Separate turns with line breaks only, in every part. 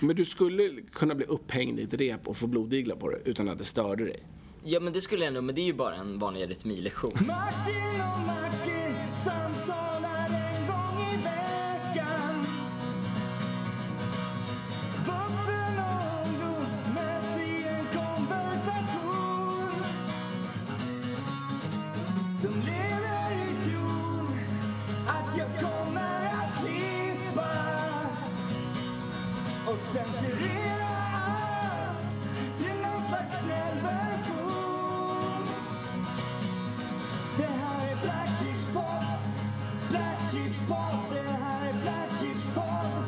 Men du skulle kunna bli upphängd i ett rep och få blodiglar på det utan att det störde dig.
Ja men det skulle jag nog, men det är ju bara en vanlig rytmilektion.
Martin och Martin samtalar en gång i veckan. Vuxen och ungdom möts i en konversation. De lever i tron att jag kommer att klippa och censurera allt till någon slags snäll version. Det här är Black Chips Pod. Black Chips Pod. Det här är Black Chips Pod.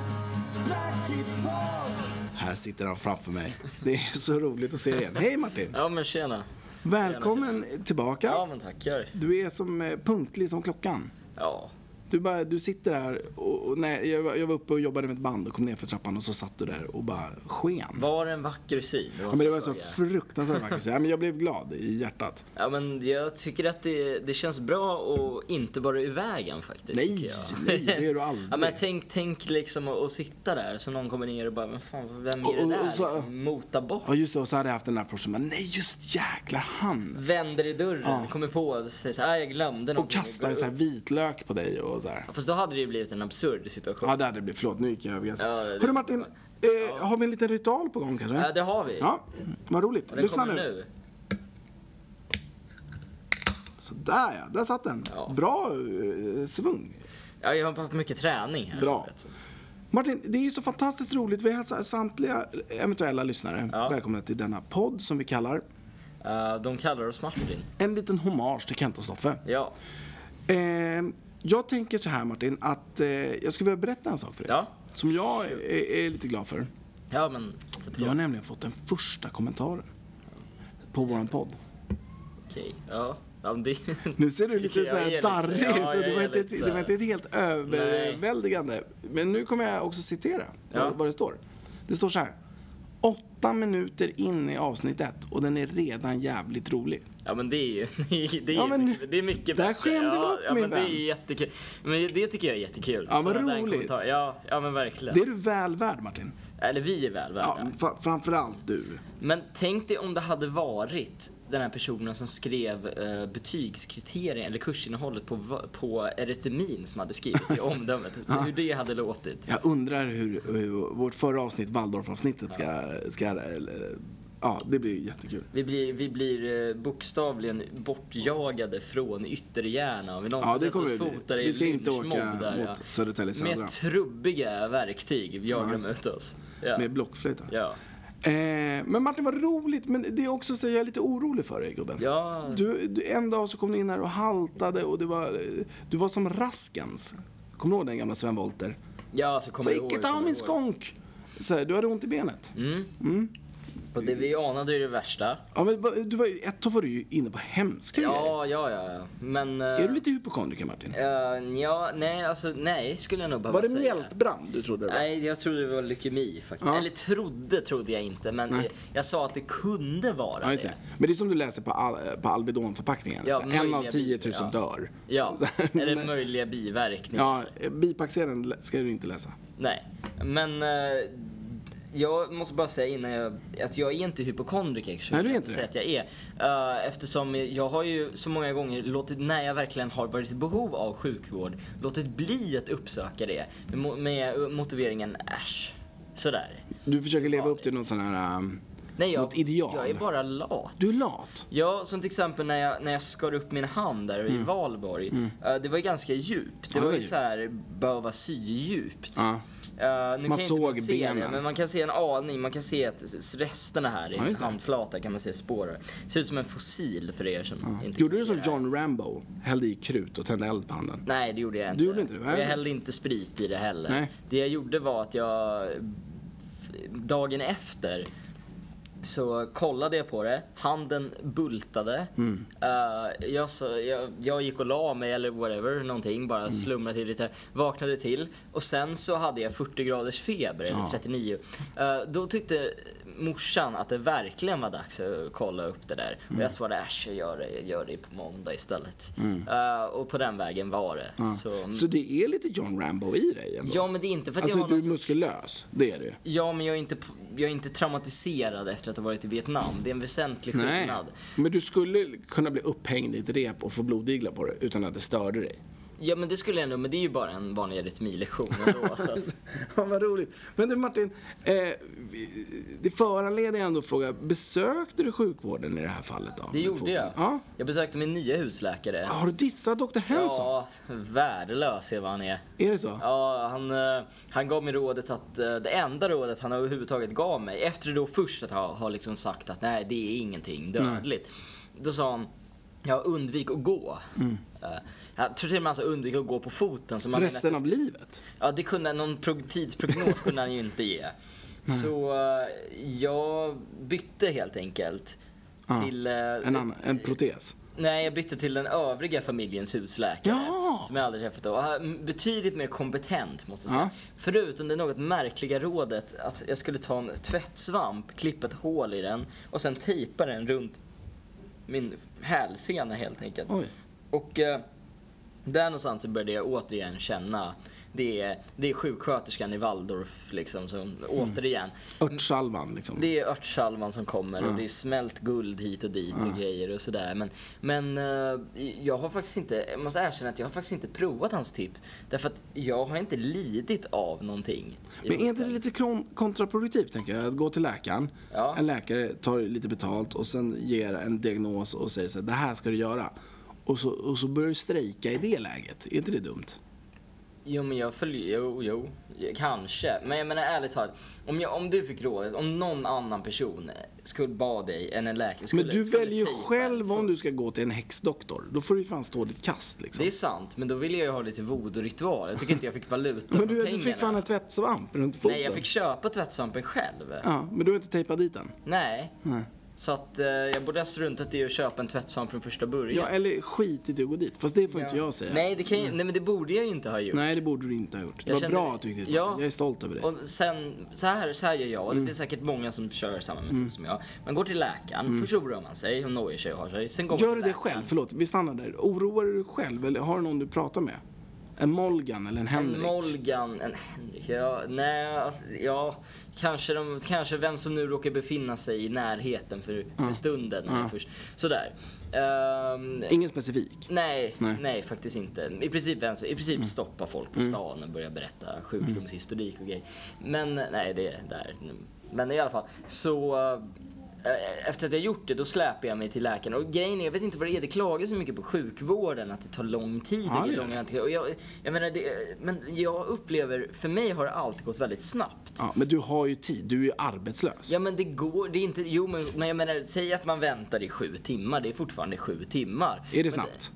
Black Chips Pod.
Här sitter han framför mig. Det är så roligt att se dig igen. Hej Martin!
Ja men tjena.
Välkommen tillbaka.
Ja men tackar.
Du är som eh, punktlig som klockan.
Ja.
Du, bara, du sitter här och, och nej, jag, var- jag var uppe och jobbade med ett band och kom ner för trappan och så satt du där och bara sken.
Var det en vacker syn?
Ja, men det var så fruktansvärt vackert. Ja, men jag blev glad i hjärtat.
Ja men jag tycker att det, det känns bra och inte bara i vägen faktiskt.
Nej,
tycker jag.
nej, det är du aldrig.
Ja men tänk, tänk liksom att, att sitta där så någon kommer ner och bara, men fan vem
Och-
är det
och-
där?
och så-
liksom, mota bort.
Ja just det, och så hade jag haft den där personen. men Nej just jäklar han.
Vänder i dörren,
Ja.
kommer på och säger såhär, jag glömde
Och
någonting.
kastade så här vitlök på dig och så här.
Ja, Fast då hade det ju blivit en absurd situation.
Ja det hade blivit, förlåt nu gick jag över gränsen.
Ja, det-
Hörru Martin, eh, har vi en liten ritual på gång kanske?
Ja, det har vi.
Ja, vad roligt.
Och den
Lyssna
kommer
nu.
nu.
Sådär ja, där satt den.
Ja.
Bra eh, svung.
Ja, jag har haft mycket träning här.
Bra. Martin, det är ju så fantastiskt roligt. Vi hälsar samtliga eventuella lyssnare
Ja.
välkomna till denna podd som vi kallar
Eh, de kallar oss Martin.
En liten hommage till Kent och Stoffe.
Ja.
Eh, jag tänker så här Martin, att eh, jag skulle vilja berätta en sak för dig.
Ja.
Som jag är, är lite glad för.
Ja, men sätt
Jag har
igång.
nämligen fått den första kommentaren på våran podd.
Okej. Ja. ja men det...
Nu ser du lite
Jag
så
är
här
lite-
darrig
ja,
ut och
jag
det var,
är
inte ett,
lite-
det var inte ett helt överväldigande. Men nu kommer jag också citera
Ja.
vad, vad det står. Det står så här. Åtta minuter in i avsnitt ett och den är redan jävligt rolig.
Ja men det är ju, det är, det är,
Ja, men
mycket, det är mycket
där
bättre.
sken du
ja,
upp,
ja,
min
men det är
vän.
jättekul. Men det tycker jag är jättekul.
Ja, vad
Sådana där
roligt.
kommentarer. Ja, ja men verkligen.
Det är du väl värd Martin.
Eller vi är väl värda.
Ja, fa- framförallt du.
Men tänk dig om det hade varit den här personen som skrev eh, betygskriterierna eller kursinnehållet på, v- på erytemin som hade skrivit i omdömet. Hur det hade låtit.
Jag undrar hur, hur vårt förra avsnitt, Waldorf-avsnittet, ska... ska eller, ja, det blir jättekul.
Vi blir, vi blir eh, bokstavligen bortjagade från Ytterjärna om vi
Ja,
någonsin
det
sätter
kommer
oss
vi bli.
fotare i
Vi ska inte åka
lynchmobb där, ja.
mot Södertälje Södra.
Med trubbiga verktyg jagar
just
de ut oss. Ja.
Med blockflöjten.
ja.
Eh, men Martin, vad roligt. Men det är också så jag är lite orolig för dig, gubben.
Ja.
Du, du, en dag så kom du in här och haltade och det var, eh, du var som Raskens. Kommer du ihåg den gamla Sven Wollter?
ja, så kommer
Får
jag ihåg.
icke ta
kommer
min
jag Mm. ihåg.
skånk! Så här, du hade ont i benet.
Och det vi anade är det värsta.
Ja, men, vad- du var, ett tag var du ju inne på hemska grejer.
Ja, ja, ja. ja. Men... eh,
Är du lite hypokondriker, Martin?
Eh, ja, nej, alltså nej skulle jag nog behöva
Var det
säga.
mjältbrand du trodde det var?
Nej, jag trodde det var leukemi faktiskt.
Ja.
Eller trodde trodde jag inte, men jag, jag sa att det kunde vara
Ja,
det.
just det. Men det är som du läser på, al- på Alvedon-förpackningen.
Ja,
så här, en av
möjliga
10 000
bier, ja.
dör.
Ja,
Så här,
eller
men-
möjliga biverkningar.
Ja, bipacksedeln lä- ska du inte läsa.
Nej, men eh, jag måste bara säga innan jag, att jag är inte hypokondriker. så
Nej, du är
jag
inte
säga att jag är. Eh, eftersom jag har ju så många gånger låtit, när jag verkligen har varit i behov av sjukvård, låtit bli att uppsöka det. Med, mo- med motiveringen äsch, sådär.
Du försöker leva upp till någon sån här... ähm,
Nej, jag,
Något ideal.
jag är bara lat.
Du är lat.
Ja, som till exempel när jag, när jag skar upp min hand där i Valborg. Eh, det var ju ganska djupt. Det
Mm. det
var
var
ju
djupt.
så här behöva sy djupt.
Ja.
Eh, nu
Man
kan ju
såg
inte man se
benen.
Det, men man kan se en aning. Man kan se att s- resterna här i
Ja, just det.
handflatan kan man se spår. Ser ut som en fossil för er som inte
Mm. Gjorde
kan
du
se
som
det här.
John Rambo? Hällde i krut och tände eld på handen.
Nej, det gjorde jag inte.
gjorde inte det, va?
jag hällde inte sprit i det heller.
Nej.
Det jag gjorde var att jag f- dagen efter så kollade jag på det, handen bultade.
Mm.
Eh, jag, sa- jag, jag gick och la mig eller whatever, någonting,
Mm.
bara slumrade till lite, vaknade till och sen så hade jag 40 graders feber, eller
Ja.
39. Eh, då tyckte morsan att det verkligen var dags att kolla upp det där.
Mm.
Och jag svarade äsch, jag gör det, jag gör det på måndag istället. Eh, och på den vägen var det. Så,
Så det är lite John Rambo i dig ändå?
ja men det är inte för att jag
Alltså
har
du
någon
är muskulös, det är du.
Ja, men jag är, inte, jag är inte traumatiserad efter att ha varit i Vietnam. Det är en väsentlig
Nej.
skillnad.
Men du skulle kunna bli upphängd i ett rep och få blodiglar på dig utan att det störde dig.
Ja, men det skulle jag nog, men det är ju bara en vanlig arytmilektion ändå. så att,
Ja, vad roligt. Men du Martin, eh, vi- det föranleder ändå att fråga, besökte du sjukvården i det här fallet då?
det
Med
gjorde
foten?
jag.
Ja.
Jag besökte min nya husläkare.
Har du dissat Dr. Henson?
Ja, värdelös är vad han är.
Är det så?
Ja, han, eh, han gav mig rådet att, eh, det enda rådet han överhuvudtaget gav mig, efter då först att ha, ha liksom sagt att nej det är ingenting dödligt. Då sa han, ja undvik att gå. Eh, jag tror till och med han sa undvik att gå på foten. Så man menar att
Mm. Resten
det
av livet?
Ja, det kunde, någon prog- tidsprognos kunde han ju inte ge. Så eh, jag bytte helt enkelt.
Ja,
Till, eh,
En, annan, en protes?
Nej, jag bytte till den övriga familjens husläkare.
Ja!
Som jag aldrig träffat då. Och han är Betydligt mer kompetent måste jag säga.
Ja.
Förutom det något märkliga rådet att jag skulle ta en tvättsvamp, klippa ett hål i den och sen tejpa den runt min hälsena helt enkelt.
Oj.
Och eh, där någonstans så började jag återigen känna det är, det är sjuksköterskan i Waldorf liksom som
Mm.
återigen.
Örtsalvan liksom?
Det är örtsalvan som kommer och det är smält guld hit och dit och grejer och sådär. Men, men eh, jag har faktiskt inte, jag måste erkänna att jag har faktiskt inte provat hans tips. Därför att jag har inte lidit av någonting. i
Men är inte det
foten.
lite kron- kontraproduktivt, tänker jag? Att gå till läkaren,
Ja.
en läkare tar lite betalt och sen ger en diagnos och säger så här, det här ska du göra. Och så, och så börjar du strejka i det läget. Är inte det dumt?
Jo men jag följer, jo, jo, kanske. Men jag menar ärligt talat, om, jag, om du fick rådet, om någon annan person skulle bad dig än en läkare skulle,
Men du
skulle
väljer ju
tejpa en
själv
fot.
om du ska gå till en häxdoktor. Då får du ju fan stå ditt kast liksom.
Det är sant, men då ville jag ju ha lite voodoo-ritual. Jag tycker inte jag fick valuta
Men
för
du, du fick
pengarna.
fan en tvättsvamp runt foten.
Nej, jag fick köpa tvättsvampen själv.
Ja, men du har inte tejpat dit den?
Nej.
Nej.
Så att eh, jag borde ha struntat i att köpa en tvättsvamp från första början.
Ja, eller skitit i att gå dit. Fast det får
Ja.
inte jag säga. Mm.
Nej, det kan ju, nej, men det borde jag ju inte ha gjort.
Nej, det borde du inte ha gjort. Det
Jag
var
kände-
bra att du gick dit.
Ja.
Martin. Jag är stolt över dig. Mm.
Och sen, så här, så här gör jag, och det finns säkert många som kör samma metod som jag. Man går till läkaren, först oroar man sig och nojar sig och har sig. Sen går man
Mm. Gör du
till
det
läkaren.
själv? Förlåt, vi stannar där. Oroar du dig själv eller har du någon du pratar med? En Molgan eller en Henrik?
En Molgan, en Henrik, ja, nej, alltså, ja, kanske, de, kanske vem som nu råkar befinna sig i närheten för, för stunden. eller För, sådär. Ehm,
Ingen specifik?
Nej,
Nej.
nej, Mm. faktiskt inte. I princip, vem som- i princip stoppa folk på stan och börja berätta sjukdomshistorik och grejer. Men nej, det är där. Men i alla fall, så eh, efter att jag gjort det, då släpar jag mig till läkaren. Och grejen är, jag vet inte vad det är, det klagas så mycket på sjukvården att det tar lång tid.
Ja,
det
det
är
gör
långa antik- och jag, jag menar, det, men jag upplever, för mig har det alltid gått väldigt snabbt.
Ja, men du har ju tid. Du är ju arbetslös.
Ja men det går, det är inte, jo men, men jag menar, säg att man väntar i sju timmar, det är fortfarande sju timmar.
Är det
Men-
snabbt?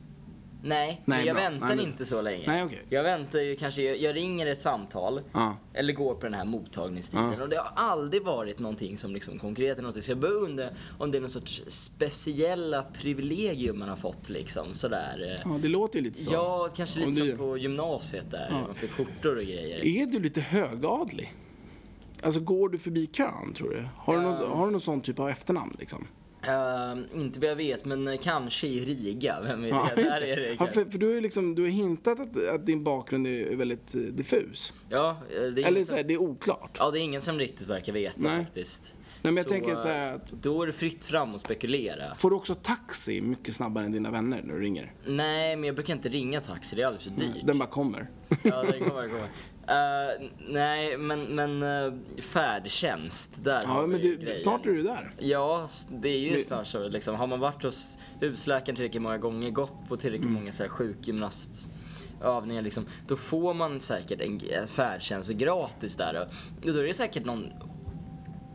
Nej,
Nej,
men jag
bra.
väntar
Nej, men-
inte så länge.
Nej, okej.
Jag väntar ju kanske, jag, jag ringer ett samtal.
Ja.
Eller går på den här mottagningstiden. Och det har aldrig varit någonting som liksom konkret är någonting. Så jag börjar undra om det är någon sorts speciella privilegium man har fått liksom sådär.
Ja, det låter ju lite så.
Ja, kanske lite
Om du-
som på gymnasiet där. Man fick skjortor och grejer.
Är du lite högadlig? Alltså går du förbi kön tror du? Har du, någon, har du någon sån typ av efternamn liksom?
Ehm, inte vad jag vet, men eh, kanske i Riga. Vem är
Ja,
det?
just
Där är det
Ja,
kanske.
för, för du har ju liksom, du har hintat att, att din bakgrund är väldigt eh, diffus.
Ja, eh, det är ingen
Eller
som-
så här, det är oklart.
Ja, det är ingen som riktigt verkar veta
Nej.
faktiskt.
Nej, men jag tänker så här
eh,
att-
Då är det fritt fram att spekulera.
Får du också taxi mycket snabbare än dina vänner när du ringer?
Nej, men jag brukar inte ringa taxi, det är alldeles för dyrt.
Den bara kommer.
Ja, den kommer, den kommer. Eh, nej, men, men eh, färdtjänst, där har
Ja,
vi
men
ju
du,
grejen.
snart är du där.
Ja, s- det är ju snart så. Liksom. Har man varit hos husläkaren tillräckligt många gånger, gått på tillräckligt många så här, sjukgymnastövningar, liksom, då får man säkert en g- färdtjänst gratis där. Och då är det säkert någon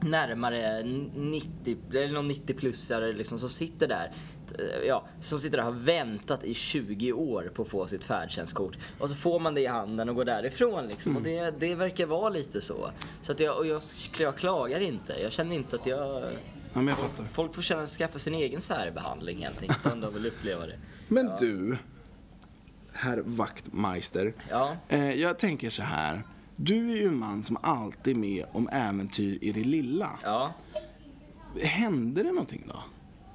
närmare 90, eller någon 90-plussare liksom, som sitter där. eh, Ja, som sitter där och har väntat i 20 år på att få sitt färdtjänstkort. Och så får man det i handen och går därifrån liksom. Och det, det verkar vara lite så. Så att jag, och jag, jag klagar inte. Jag känner inte att jag...
Ja, men jag fattar.
Folk får känna, skaffa sin egen särbehandling helt enkelt om de vill uppleva det.
Men du, herr Wachtmeister.
Ja.
Eh, jag tänker så här. Du är ju en man som alltid är med om äventyr i det lilla.
Ja,
Hände det någonting då?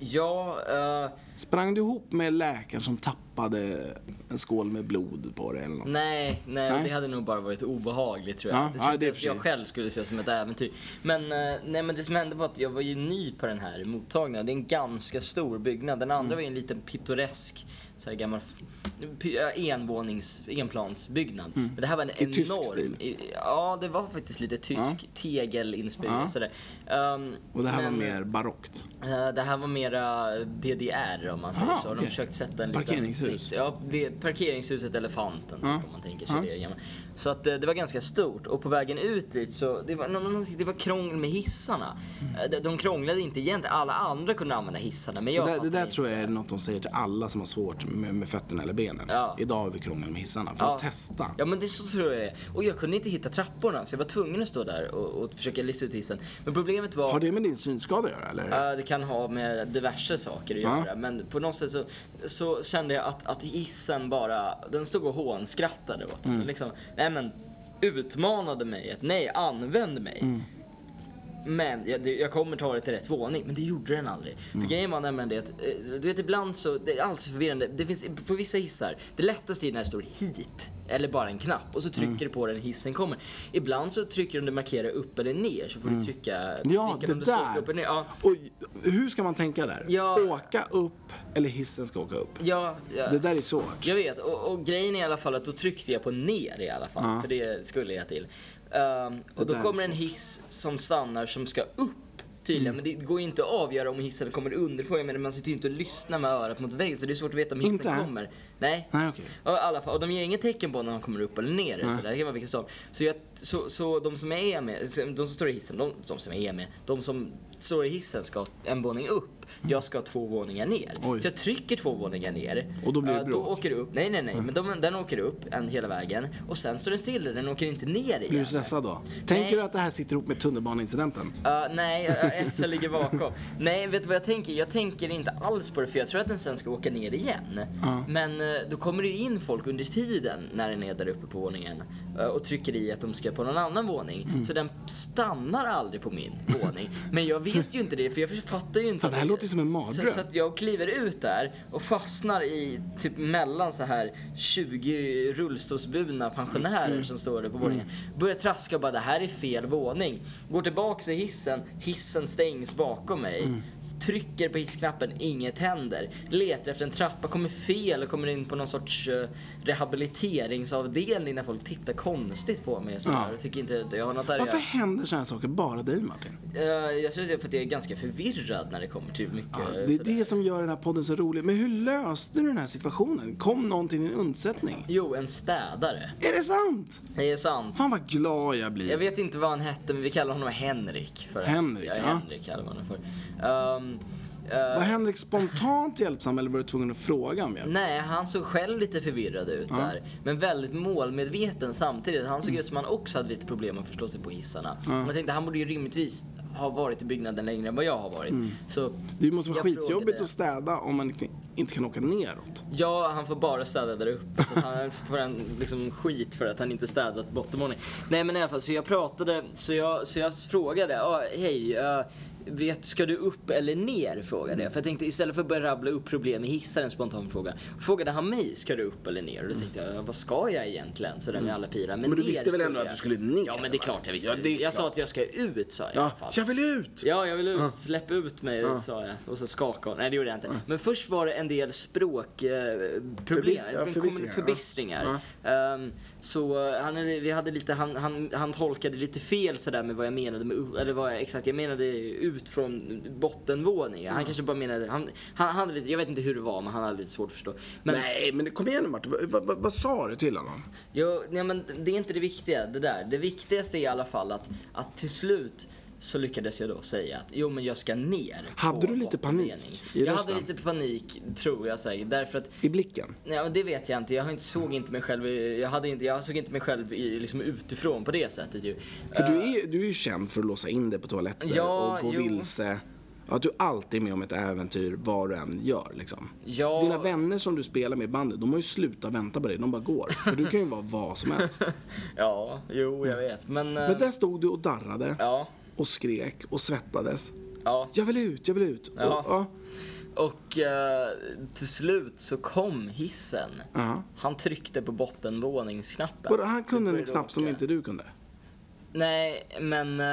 ja eh,
Sprang du ihop med läkaren som tappade en skål med blod på dig eller något?
nej, nej,
Nej.
det hade nog bara varit obehagligt tror jag.
Ja,
det
ja,
tror inte
det är
ens
för sig.
jag själv skulle se som ett äventyr. Men, eh, nej, men det som hände var att jag var ju ny på den här mottagningen. Det är en ganska stor byggnad. Den
Mm.
andra var ju en liten pittoresk så här gammal p- eh, envånings, enplansbyggnad. Men det här var en
Mm. I
enorm...
tysk stil?
i- Ja, det var faktiskt lite tysk tegelinspirerat
Ja.
sådär. Ehm,
Och det här var
men-
mer barockt.
Eh, Det här var mera DDR om man säger
Aha,
så. De
okej.
försökte sätta en
Parkeringshus.
Liten, ja, det, parkeringshuset Elefanten
Ja,
typ, om man tänker sig
ja.
det. gamla. Så att eh, det var ganska stort och på vägen ut dit så det var, nå- nå- det var krångel med hissarna.
Mm.
Eh, de- De krånglade inte egentligen. Alla andra kunde använda hissarna men
Så
jag
det, det
fattade
där
inte.
tror jag är något de säger till alla som har svårt med, med fötterna eller benen.
Ja.
Idag har vi krångel med hissarna för att
Ja.
testa.
Ja men det så tror jag det är. Och jag kunde inte hitta trapporna så jag var tvungen att stå där och, och försöka lista ut hissen. Men problemet var...
Har det med din synskada att göra eller?
Ja, det kan ha med diverse saker att
Ja.
göra. Men på något sätt så, så kände jag att, att hissen bara, den stod och hånskrattade åt mm. liksom, Nej men, utmanade mig. Att, nej, använd mig.
Mm.
Men jag, det, jag kommer ta det till rätt våning. Men det gjorde den aldrig.
Mm.
För grejen var nämligen det att, eh, du vet ibland så, det är alltid så förvirrande. Det finns, på vissa hissar, det lättaste är när det står hit. Eller bara en knapp. Och så trycker
Mm.
du på den, hissen kommer. Ibland så trycker de det markera upp eller ner. Så får du trycka,
Mm. Ja,
vilka
det
om står
där.
Upp eller ner. Ja.
Och hur ska man tänka där?
Ja.
Åka upp eller hissen ska åka upp?
Ja, ja.
Det där är svårt.
jag vet. Och, och grejen är i alla fall att då tryckte jag på ner i alla fall.
Ja.
För det skulle jag till. Ehm, och
Det
då
där är
kommer en
svårt.
hiss som stannar som ska upp tydligen.
Mm.
Men det går ju inte att avgöra om hissen kommer underifrån. Jag menar man sitter ju inte och lyssnar med örat mot väggen så det är svårt att veta om hissen
Inte?
kommer. Nej.
Nej, okej.
Ja, i alla fall. Och de ger inget tecken på när de kommer upp eller ner. Så där. Det kan vara vilken sak. Så, jag, så, så de som är med, så de som står i hissen, de, de som är med, de som står i hissen ska en våning upp. Jag ska två våningar ner.
Mm. Oj.
Så jag trycker två våningar ner.
Och då blir det
Eh,
bråk.
Då åker det upp. Nej, nej, nej.
Mm.
Men de, den åker upp en hela vägen. Och sen står den still. Den åker inte ner igen.
Blir du stressad då? Tänker du att det här sitter ihop med tunnelbaneincidenten?
Eh, nej, eh, SL ligger bakom. nej, vet du vad jag tänker? Jag tänker inte alls på det för jag tror att den sen ska åka ner igen.
Ja.
Men eh, då kommer det ju in folk under tiden när den är där uppe på våningen eh, och trycker i att de ska på någon annan våning.
Mm.
Så den stannar aldrig på min våning. Men jag vet ju inte det för jag fattar ju inte.
Fan, det här låter ju som en mardröm.
Så, så att jag kliver ut där och fastnar i typ mellan så här 20 rullstolsburna pensionärer
Mm.
som står där på våningen. Börjar traska och bara det här är fel våning. Går tillbaks till hissen, hissen stängs bakom mig.
Mm.
Trycker på hissknappen, inget händer. Letar efter en trappa, kommer fel och kommer in på någon sorts eh, rehabiliteringsavdelning när folk tittar konstigt på mig och sådär
Ja.
och tycker inte att jag har något där att
Varför
göra.
händer sådär saker bara dig Martin?
Eh, Jag tror att det är för att jag är ganska förvirrad när det kommer till mycket
Ja,
eh,
det är
sådär.
det som gör den här podden så rolig. Men hur löste du den här situationen? Kom någon till din undsättning?
Jo, en städare.
Är det sant?
Det är sant.
Fan vad glad jag blir.
Jag vet inte vad han hette, men vi kallar honom Henrik. För
Henrik,
ja.
ja.
Henrik kallar man honom för. Um, eh,
Var Henrik spontant hjälpsam eller var du tvungen att fråga om hjälp?
nej, han såg själv lite förvirrad ut där. Men väldigt målmedveten samtidigt. Han såg ut som han också hade lite problem att förstå sig på hissarna. Men jag tänkte, han borde ju rimligtvis ha varit i byggnaden längre än vad jag har varit.
Mm.
Så
Det måste vara
jag frågade.
skitjobbigt att städa om man inte- inte kan åka neråt.
Ja, han får bara städa där uppe. Så att han så får han liksom skit för att han inte städat bottenvåningen. Nej men i alla fall, så jag pratade, så jag, så jag frågade, ja hej, eh, vet, ska du upp eller ner? Frågade jag. För jag tänkte istället för att börja rabbla upp problem med hissar, en spontan fråga. Frågade han mig, ska du upp eller ner? Och då tänkte jag, ja, vad ska jag egentligen? Så där med alla pilar. Men,
Mm. Men du
ner
visste väl
skulle
ändå
jag.
att du skulle ner,
Ja men det är
va?
klart jag visste.
Ja, det är
jag sa
klart.
att jag ska ut, sa jag i alla
Ja,
fall.
jag vill ut!
Ja, jag vill ut. Släpp ut mig, sa jag. Och så skakade hon. Nej, det gjorde jag inte. Men först var det en del språkproblem. Eh, problem.
Förbist- ja,
Kom-
förbistringar, ja.
förbistringar. Ehm, så eh, han, vi hade lite, han, han, han tolkade lite fel sådär med vad jag menade med, u- eller vad jag, exakt, jag menade ut från bottenvåningen. Han kanske bara menade, han, han hade lite, jag vet inte hur det var, men han hade lite svårt att förstå. Men
Nej, men kom igen nu Martin. Vad, vad, vad, vad sa du till honom?
Jo, nej, men det är inte det viktiga, det där. Det viktigaste är i alla fall att, att till slut så lyckades jag då säga att jo men jag ska ner.
Hade
på
du lite
bottenvåningen.
panik i
Jag hade
rösten?
lite panik, tror jag säkert, därför att
I blicken?
Nej, men det vet jag inte. Jag har inte såg inte mig själv, i- jag, hade inte, jag såg inte mig själv i, liksom utifrån på det sättet ju. Eh,
För du är, du är ju känd för att låsa in dig på toaletter
Ja,
och gå
jo.
vilse Att du alltid är med om ett äventyr vad du än gör liksom.
Ja.
Dina vänner som du spelar med i bandet, de har ju slutat vänta på dig. De bara går. För du kan ju vara vad som helst.
Ja, jo, jag vet. Men... eh,
Men där stod du och darrade
Ja,
och skrek och svettades.
ja.
Jag vill ut, jag vill ut. Och,
Ja.
ja,
Och eh, till slut så kom hissen.
ja.
Han tryckte på bottenvåningsknappen.
Och han kunde en
började
knapp som
åka.
inte du kunde.
Nej, men eh,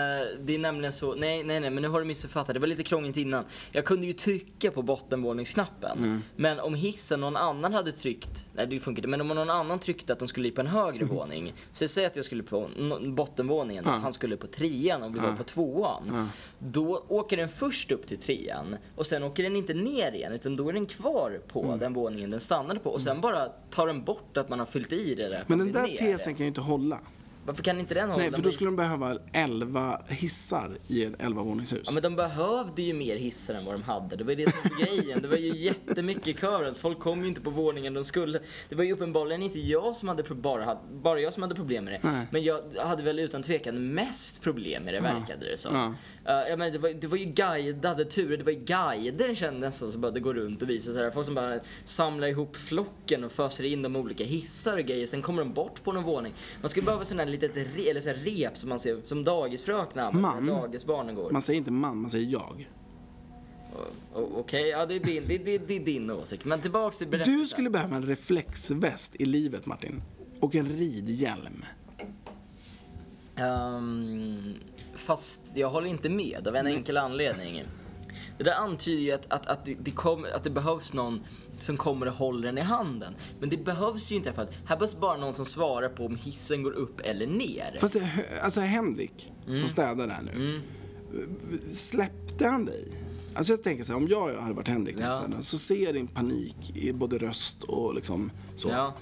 det är nämligen så. Nej, nej, nej, men nu har du missuppfattat. Det var lite krångligt innan. Jag kunde ju trycka på bottenvåningsknappen.
Mm.
Men om hissen någon annan hade tryckt, nej det funkar inte, men om någon annan tryckte att de skulle på en högre
Mm.
våning. Så säg att jag skulle på n- bottenvåningen och han skulle på trean och vi var på tvåan. Då åker den först upp till trean och sen åker den inte ner igen utan då är den kvar på
Mm.
den våningen den stannade på och sen bara tar den bort att man har fyllt i det där.
Men
för
den
att
där
det är ner.
tesen kan ju inte hålla.
Varför kan inte den hålla?
Nej, för då skulle de behöva 11 hissar i ett 11-våningshus.
Ja men de behövde ju mer hissar än vad de hade. Det var ju det som var grejen. Det var ju jättemycket i kören. Folk kom ju inte på våningen de skulle. Det var ju uppenbarligen inte jag som hade, pro- bara, hade- bara jag som hade problem med det.
Nej.
Men jag hade väl utan tvekan mest problem med det verkade det som.
Ja.
Eh, jag menar, det, var, det var ju guidade turer. Det var ju guider kändes nästan som började gå runt och visa så här. Folk som bara samlar ihop flocken och föser in de olika hissar och grejer. Sen kommer de bort på någon våning. Man skulle behöva sån här litet re, eller så här rep som man ser som dagisfröknar använder när
Man.
dagisbarnen går.
Man säger inte man, man säger jag.
O- Okej, ja det är, din, det, det, det är din åsikt. Men tillbaks till berättelsen.
Du skulle behöva en reflexväst i livet, Martin. Och en ridhjälm.
Ehm, fast jag håller inte med av en enkel anledning. Det där antyder ju att, att, att, det, det kom, att det behövs någon som kommer och håller den i handen. Men det behövs ju inte för att här behövs bara någon som svarar på om hissen går upp eller ner.
Fast eh, alltså Henrik,
Mm.
som städar där nu, släppte han dig? Alltså jag tänker så här, om jag hade varit Henrik
Ja.
ja. så ser jag din panik i både röst och liksom så.
Ja.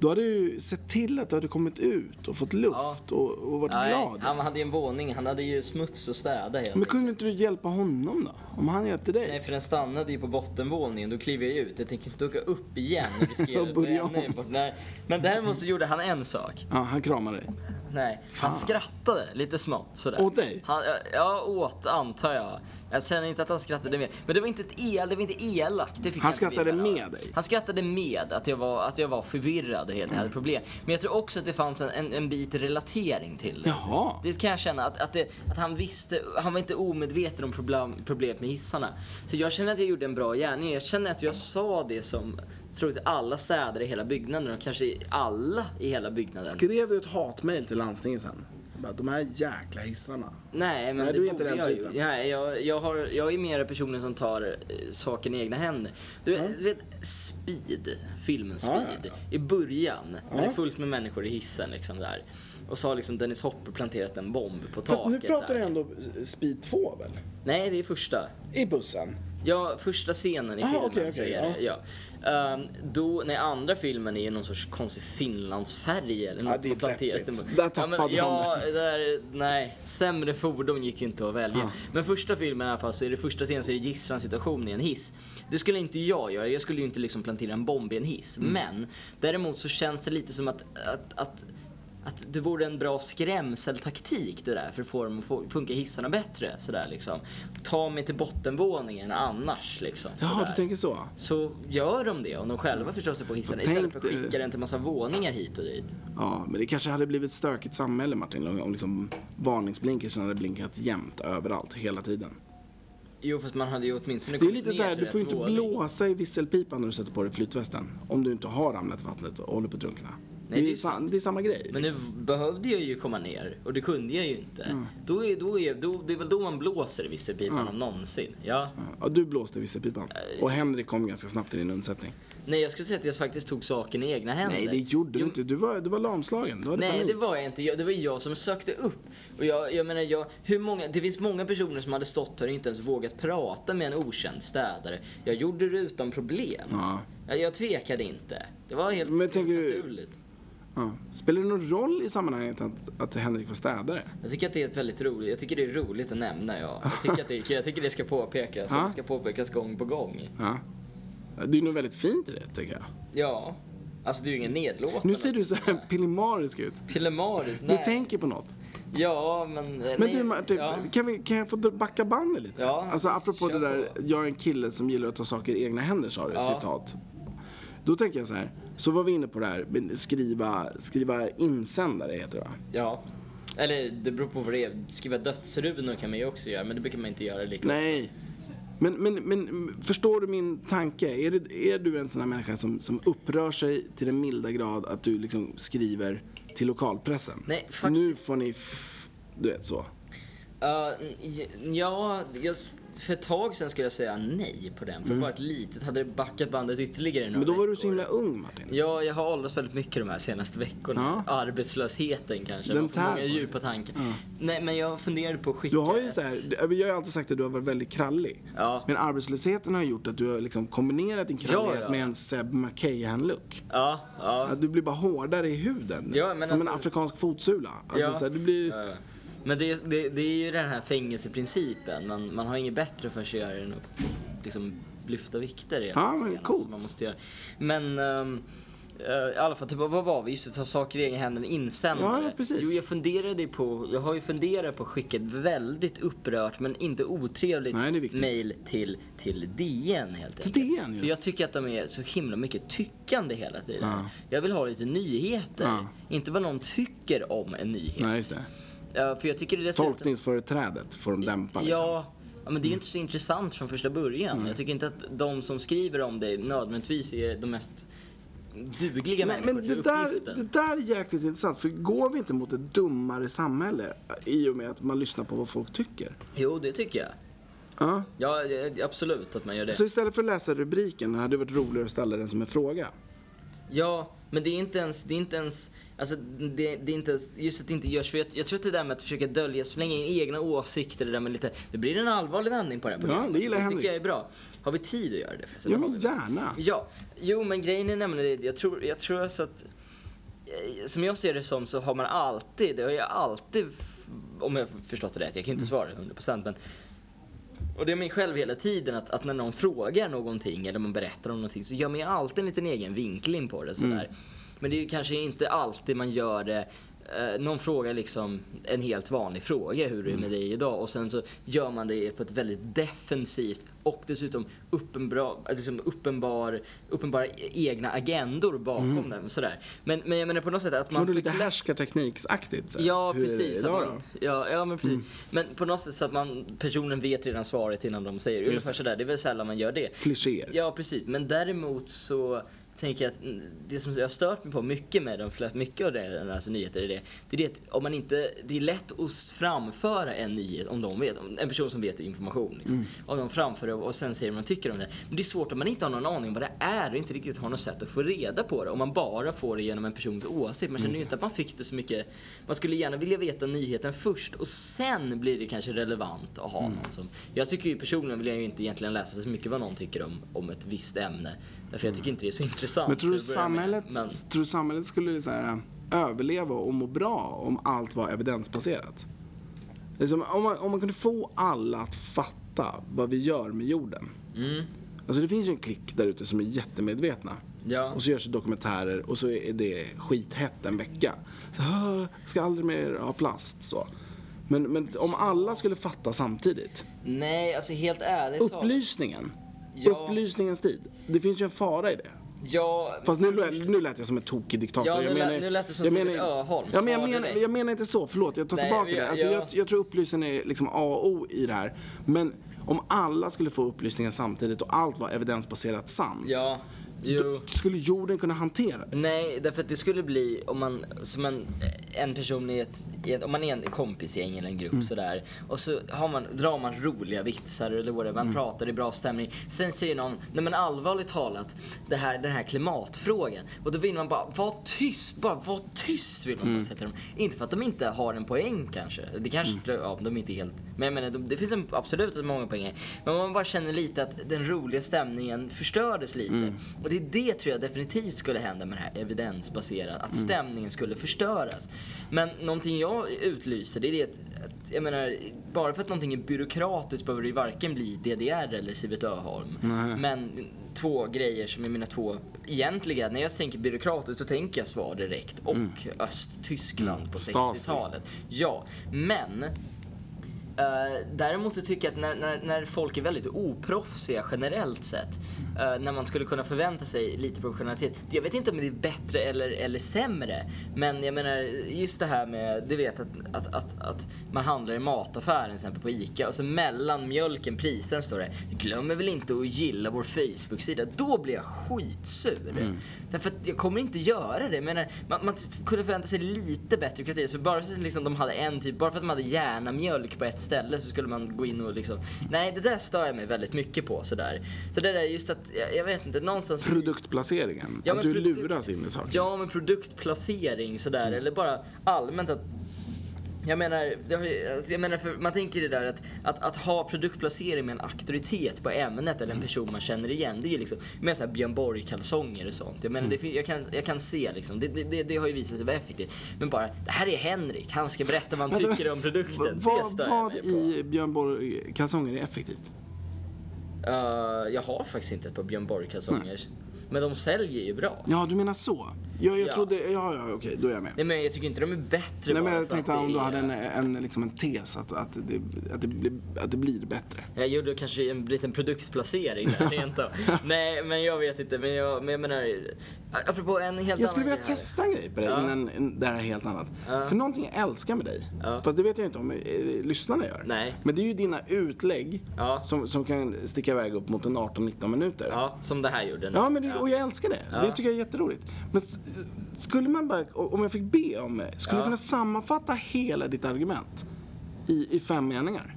Då hade du sett till att du hade kommit ut och fått luft och, och varit
Nej,
glad.
han hade ju en våning, han hade ju smuts att städa helt
Men kunde inte du hjälpa honom då? Om han hjälpte dig?
Nej, för den stannade ju på bottenvåningen. Då kliver jag ju ut. Jag tänker inte åka upp igen och riskera
Och
att
börja
bränna i
om.
bort. Nej. Men däremot så gjorde han en sak.
Ja, han kramade dig.
Nej, han skrattade lite smått sådär.
Åt dig?
Han, ja, åt antar jag. Jag känner inte att han skrattade mer. Men det var inte, ett el, det var inte elakt. Det fick
Han
jag inte
skrattade
vibbar av.
med dig?
Han skrattade med att jag var, att jag var förvirrad och helt hade problem. Men jag tror också att det fanns en, en, en bit relatering till det.
Jaha.
Det kan jag känna, att, att, det, att han visste, han var inte omedveten om problem, problemet med hissarna. Så jag känner att jag gjorde en bra gärning. Jag känner att jag sa det som troligtvis alla städare i hela byggnaden och kanske alla i hela byggnaden.
Skrev du ett hatmejl till landstinget sen? Bara, de här jäkla hissarna.
Nej, men
Nej,
det
du är inte
borde
den
jag
typen.
ju. Nej, jag, jag, har, jag är mera personen som tar eh, saken i egna händer. Du, vet- du vet, Speed, filmen
Ja, ja,
Speed, i början, när det är fullt med människor i hissen liksom där. Och så har liksom Dennis Hopper planterat en bomb på
Fast
taket
nu pratar
där.
du ändå eh, Speed 2 väl?
Nej, det är första.
I bussen?
Ja, första scenen i
Ah,
filmen
okej,
så
okej,
är det, ja. Ehm, då, nej, andra filmen är ju någon sorts konstig Finlandsfärg eller något
det är
på planterat.
deppigt. Där tappade
ja, men,
han
ja, där, nej, sämre fordon gick ju inte att välja. Men första filmen i alla fall så är det första scenen så är det gisslans situation i en hiss. Det skulle inte jag göra, jag skulle ju inte liksom plantera en bomb i en hiss.
Mm.
Men däremot så känns det lite som att, att, att att det vore en bra skrämseltaktik det där för att få dem att få- funka hissarna bättre. Sådär liksom. Ta mig till bottenvåningen annars liksom.
Jaha,
sådär.
du tänker så?
Så gör de det om de själva förstår sig på hissarna
Tänk
istället för att
dig-
skicka den till massa våningar hit och dit.
Ja, men det kanske hade blivit ett stökigt samhälle Martin om om liksom varningsblinkersen hade blinkat jämt överallt hela tiden.
Jo fast man hade ju åtminstone
Det är ju
kommit
lite så här,
ner till
du får ju
rätt
inte
våning.
blåsa i visselpipan när du sätter på dig flytvästen. Om du inte har ramlat i vattnet och håller på att drunkna.
det är
det, är ju
sant.
sa- det är samma grej.
Men nu behövde jag ju komma ner och det kunde jag ju inte.
Mm.
Då är, då är, då, det är väl då man blåser i visselpipan om någonsin. Ja.
Ja, du blåste i visselpipan. Och Henrik kom ganska snabbt till din undsättning.
Nej jag skulle säga att jag faktiskt tog saken i egna händer.
Nej, det gjorde du
Jo,
inte. Du var, du var lamslagen. Du hade
Nej,
panik.
det var jag inte. Jag, det var jag som sökte upp. Och jag, jag menar, jag, hur många, det finns många personer som hade stått här och inte ens vågat prata med en okänd städare. Jag gjorde det utan problem.
Ja.
Jag, jag tvekade inte. Det var helt,
Men tänker
helt
du-
naturligt.
Ja. Spelar det någon roll i sammanhanget att, att Henrik var städare?
Jag tycker att det är ett väldigt roligt, jag tycker det är roligt att nämna ja. Jag tycker att det, jag tycker det ska påpekas, och
Ja.
det ska påpekas gång på gång.
Ja. Det är nog väldigt fint i det, tycker jag.
Ja. Alltså det är ju ingen nedlåtande.
Nu ser du så här pillemarisk ut.
Pillemaris,
Du
nej.
tänker på något.
Ja, men...
Men du Martin,
Ja.
kan, vi, kan jag få backa bandet lite?
Ja,
alltså apropå
kör
det där,
på.
jag är en kille som gillar att ta saker i egna händer sa du,
Ja.
citat. Då tänker jag så här, så var vi inne på det här, men skriva, skriva insändare heter det va?
ja. Eller det beror på vad det är. Skriva dödsrunor kan man ju också göra, men det brukar man inte göra lika
Nej. Men, men, men förstår du min tanke? Är du, är du en sån här människa som, som upprör sig till den milda grad att du liksom skriver till lokalpressen?
Nej, faktiskt-
Nu får ni, f- du vet så.
Ja, ja, jag, för ett tag sedan skulle jag säga nej på den. För bara ett litet, hade det backat bandet ytterligare några
Mm. Men då var du så
veckor.
himla ung Martin.
Ja, jag har åldrats väldigt mycket de här senaste veckorna.
Ja.
Arbetslösheten kanske.
Den
Man får
tär
många
på dig.
djupa tankar. Nej, men jag funderade på att skicka
Du har ju
ett-
så här, du- jag har ju alltid sagt att du har varit väldigt krallig.
Ja.
Men arbetslösheten har gjort att du har liksom kombinerat din krallighet
Ja, ja.
med en Seb McKayhan-look.
Ja, ja.
Att du blir bara hårdare i huden.
Ja, men
som en
alltså-
afrikansk fotsula. Alltså
Ja.
så här, du blir...
Ja, ja. Men det, är- det, det är ju den här fängelseprincipen. Man, man har inget bättre för sig att göra än att liksom lyfta vikter. i alla
men
fall,
coolt.
som man måste göra. Men ehm, eh, i alla fall, typ, vad var vi? Just det, ta saker i egna händer, insändare.
Ja, ja, precis.
Jo, jag funderade ju på, jag har ju funderat på att skicka ett väldigt upprört men inte otrevligt
Nej, det är viktigt.
mail till, till DN helt enkelt.
DN just.
För jag tycker att de är så himla mycket tyckande hela tiden.
Ja.
Jag vill ha lite nyheter.
Ja.
Inte vad någon tycker om en nyhet.
Nej, just det.
Ja, för jag tycker det dessutom...
Tolkningsföreträdet får de dämpa liksom.
Ja, ja, men det är ju inte så intressant från första början. Jag tycker inte att de som skriver om dig nödvändigtvis är de mest dugliga
Nej,
människorna
men
till
det där,
uppgiften.
det där är jäkligt intressant. För går vi inte mot ett dummare samhälle i och med att man lyssnar på vad folk tycker?
Jo, det tycker jag.
Ja.
Ja, det- absolut att man gör det.
Så istället för att läsa rubriken hade det varit roligare att ställa den som en fråga.
Ja, men det är inte ens, det är inte ens, alltså det, det är inte ens, just att det inte görs. För jag, jag tror att det där med att försöka dölja, slänga in egna åsikter, det där med lite, det blir en allvarlig vändning på det här programmet.
det gillar
det
Henrik.
tycker jag är bra. Har vi tid att göra det förresten?
Ja,
Det har
men
vi.
gärna.
Ja, jo men grejen är nämligen det, jag tror, jag tror alltså att eh, som jag ser det som så har man alltid, det har jag alltid, f- om jag har förstått det rätt, jag kan inte svara 100% men och det är mig själv hela tiden att, att när någon frågar någonting eller man berättar om någonting så gör man ju alltid en liten egen vinkling på det sådär. Men det är ju kanske inte alltid man gör det eh, någon frågar liksom en helt vanlig fråga, hur är det med dig idag? Och sen så gör man det på ett väldigt defensivt och dessutom uppenbar, liksom uppenbar, uppenbara e-, egna agendor bakom den. Sådär. Men, men jag menar på något sätt att
Man
man
det lite
förklä-
härskartekniksaktigt. så här.
Ja,
Hur är det
precis. att
Idag,
man,
då? Mm.
ja, ja, men precis. Men på något sätt så att man, personen vet redan svaret innan de säger det. Ungefär sådär. Det är väl sällan man gör det.
Klichéer.
Ja, precis. Men däremot så tänker jag att mm, det som jag har stört mig på mycket med de flesta, mycket av deras alltså, nyheter är det, det är det att om man inte, det är lätt att framföra en nyhet om de vet, om en person som vet information. Liksom.
Mm.
Om de framför det och sen säger vad de tycker om det. Men det är svårt om man inte har någon aning om vad det är och inte riktigt har något sätt att få reda på det. Om man bara får det genom en persons åsikt. Man känner
Mm.
ju inte att man fick det så mycket. Man skulle gärna vilja veta nyheten först och sen blir det kanske relevant att ha
Mm.
någon som... Jag tycker ju personligen vill jag ju inte egentligen läsa så mycket vad någon tycker om, om ett visst ämne. Därför jag tycker inte det är så intressant.
Mm. Men tror du,
till att börja med.
samhället,
Men,
tror du samhället skulle så här, äh, överleva och må bra om allt var evidensbaserat? Liksom, om, man, om man kunde få alla att fatta vad vi gör med jorden.
Mm.
Alltså det finns ju en klick där ute som är jättemedvetna.
Ja.
Och så görs det dokumentärer och så är det skithett en vecka. Så, "Ah, ska aldrig mer ha plast så. Men, men om alla skulle fatta samtidigt.
nej, alltså helt ärligt talat.
Upplysningen.
Ja.
Upplysningens tid. Det finns ju en fara i det.
Ja,
Fast nu, lät- nu lät jag som en tokig diktator.
Ja, nu
jag
lät- nu lät det som Siewert Öholm.
Ja, men jag,
Svara
menar,
dig.
jag menar inte så, förlåt. Jag tar
Nej,
tillbaka
jag-
det. Alltså,
jag-
jag, jag tror upplysningen är liksom A och O i det här. Men om alla skulle få upplysningen samtidigt och allt var evidensbaserat sant.
ja,
Då
jo.
skulle jorden kunna hantera det.
Nej, därför att det skulle bli om man, som en, en person i ett, i ett, om man är en kompisgäng eller en grupp sådär och så har man, drar man roliga vitsar eller vad det är, man pratar i bra stämning. Sen säger någon, nej men allvarligt talat, det här, den här klimatfrågan. Och då vill man bara, var tyst, bara var tyst vill man bara säga till dem. Inte för att de inte har en poäng kanske, det kanske, ja de är inte helt, men jag menar de, det finns en, absolut många poänger. Men man bara känner lite att den roliga stämningen förstördes lite.
Mm.
Och det är det tror jag definitivt skulle hända med det här
Mm.
evidensbaserade, att stämningen skulle förstöras. Men någonting jag utlyser det är det att jag menar, bara för att någonting är byråkratiskt behöver det ju varken bli DDR eller Siewert Öholm.
Nej.
Men två grejer som är mina två egentliga, när jag tänker byråkratiskt så tänker jag SVAR direkt och Östtyskland
Mm.
på
Stasi.
60-talet. Ja, men Eh, däremot så tycker jag att när, när, när folk är väldigt oproffsiga generellt sett, eh, när man skulle kunna förvänta sig lite professionalitet. Jag vet inte om det är bättre eller, eller sämre, men jag menar just det här med, du vet att, att, att, att man handlar i mataffären till exempel på ICA och så mellan mjölken, priserna står det “glömmer väl inte att gilla vår Facebook-sida”. Då blir jag skitsur. Därför att jag kommer inte göra det. Jag menar, man, man kunde förvänta sig lite bättre kritik. Så bara för att liksom de hade en typ, bara för att de hade järnamjölk på ett ställe så skulle man gå in och liksom... Nej, det där stör jag mig väldigt mycket på sådär. Så det där är just att, jag, jag vet inte, någonstans...
Produktplaceringen.
Ja,
att
men
du
produkt-
luras in i saker.
Ja, men produktplacering sådär,
Mm.
eller bara allmänt att jag menar, det har ju- alltså, jag menar för man tänker det där att, att, att ha produktplacering med en auktoritet på ämnet
Mm.
eller en person man känner igen. Det är ju liksom, mer såhär Björn Borg-kalsonger och sånt. Jag
Mm.
menar, det, fin- jag, kan, jag kan se liksom, det, det- det, det har ju visat sig vara effektivt. Men bara, det här är Henrik, han ska berätta vad han
Vänta,
tycker om
Va-
produkten. det
Vad,
stör jag
vad
mig på.
i Björn Borg-kalsonger är effektivt?
Eh, jag har faktiskt inte ett par Björn Borg-kalsonger. Men de säljer ju bra.
Ja, du menar så? Ja, jag
Ja.
trodde... Ja, ja, okej, då är jag med.
Nej men jag tycker inte de är bättre
Nej, men
bara
jag
för
tänkte
att det
om du
är-
hade en, en, liksom en tes att, att, det, att, det blir, att det blir bättre.
Jag gjorde kanske en liten produktplacering där rent av. Nej, men jag vet inte. Men jag, men jag menar, apropå en helt
Jag skulle
annan
vilja testa en grej på dig
Ja.
innan en- det här är helt annat. För någonting jag älskar med dig,
Ja.
fast det vet jag inte om eh, lyssnarna gör.
Nej.
Men det är ju dina utlägg
Ja.
som, som kan sticka iväg upp mot en 18-19 minuter.
Ja, som det här gjorde nu.
Ja, men det, och jag älskar det. Det tycker jag är jätteroligt. Men s- skulle man bara, om jag fick be om det, skulle
Ja.
du kunna sammanfatta hela ditt argument i, i fem meningar?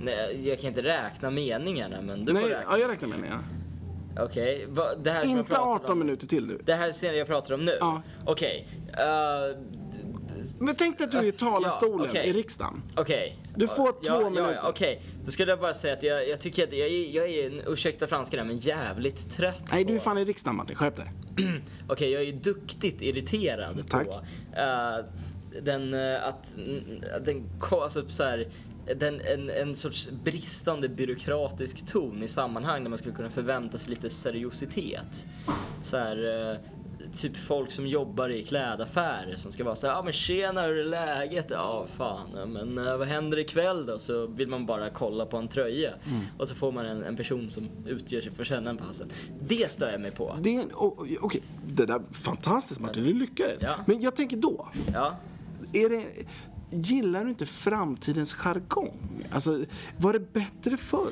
Nej, jag kan inte räkna meningarna, men du får
Nej,
räkna.
ja, jag räknar meningar.
Okej, vad- det här som jag
Inte
pratar
18
om,
minuter till nu.
Det här senare jag pratar om nu?
Ja.
Okej. eh, d- d-
Men tänk dig att du är i
Ja,
talarstolen
okej.
i riksdagen.
Okej.
Du får två
ja, Ja,
minuter.
ja, Okej, då skulle jag bara säga att jag, jag tycker att jag, är- jag är, en- ursäkta franska där, men jävligt trött
Nej, du är
på-
fan i riksdagen Martin, skärp dig.
Okej, jag är duktigt irriterad
Tack.
på eh, den, eh, att, mm, att den, ko- alltså så här, den, en, en sorts bristande byråkratisk ton i sammanhang där man skulle kunna förvänta sig lite seriositet. Så här, eh, typ folk som jobbar i klädaffärer som ska vara så här, ja ah, men tjena hur är läget? Ja fan, ja, men eh, vad händer ikväll då? Så vill man bara kolla på en tröja. Och så får man en, en person som utger sig för att känna en på halsen. Det stör jag mig på.
Det är en, oh, okej, det där, fantastiskt Martin, du lyckades.
Ja.
Men jag tänker då,
Ja.
är det, gillar du inte framtidens jargong? Alltså, var det bättre förr?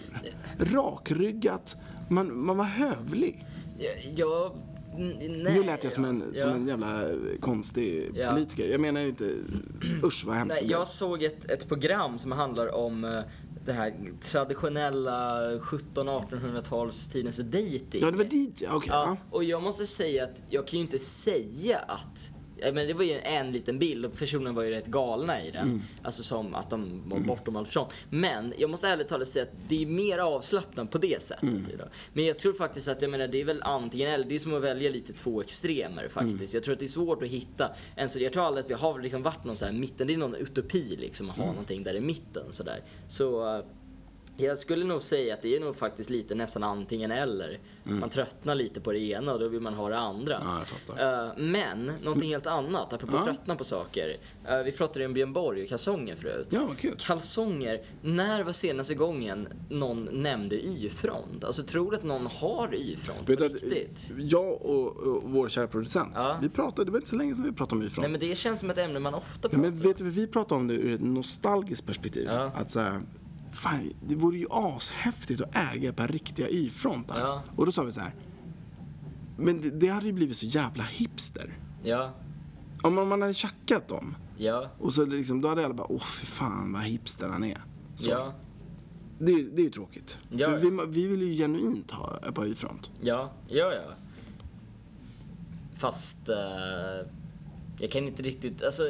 Rakryggat, man, man var hövlig.
Jag... jag n- nej.
nu lät jag som en,
ja.
som en jävla eh, konstig
Ja.
politiker. Jag menar inte, usch vad hemskt
Nej,
det blev.
jag såg ett, ett program som handlar om eh, det här traditionella 1700-1800-talstidens dejting.
Ja, det var dit ja, okej.
Ja,
ja.
och jag måste säga att jag kan ju inte säga att ja, men det var ju en liten bild och personerna var ju rätt galna i
Mm.
den. Alltså som att de var bortom allt från. Men jag måste ärligt talat säga att det är mer avslappnat på det sättet.
Mm.
idag. Men jag tror faktiskt att jag menar, det är väl antingen eller. Det är som att välja lite två extremer faktiskt.
Mm.
Jag tror att det är svårt att hitta en så Jag tror aldrig att vi har liksom varit någon så här mitten. Det är någon utopi liksom att ha
Mm.
någonting där i mitten sådär. Så eh, jag skulle nog säga att det är nog faktiskt lite nästan antingen eller. Man tröttnar lite på det ena och då vill man ha det andra.
Mm. Ja, jag fattar.
Eh, men, någonting helt annat, apropå
Ja.
tröttna på saker. Eh, vi pratade ju om Björn Borg och kalsonger förut.
Ja, vad kul.
Kalsonger, när var senaste gången någon nämnde Y-front? Alltså tror du att någon har Y-front på
Vet du att
riktigt?
jag och, och vår kära producent,
Ja.
vi pratade, det var inte så länge sedan vi pratade om ifrån.
Nej men det känns som ett ämne man ofta
Ja,
pratar
men vet du vad vi pratar om det ur ett nostalgiskt perspektiv?
Ja.
Att så här, fan, det vore ju ashäftigt att äga ett par riktiga Y-frontar.
Ja.
Och då sa vi så här, men det, det hade ju blivit så jävla hipster.
Ja,
Om man, man hade tjackat dem,
ja,
och så liksom, då hade alla bara, åh fy fan vad hipster han är. Så.
ja,
Det, är- det är ju tråkigt.
Ja,
För
ja.
vi, vi vill ju genuint ha ett par Y-front.
ja, ja, ja. Fast... eh, jag kan inte riktigt, alltså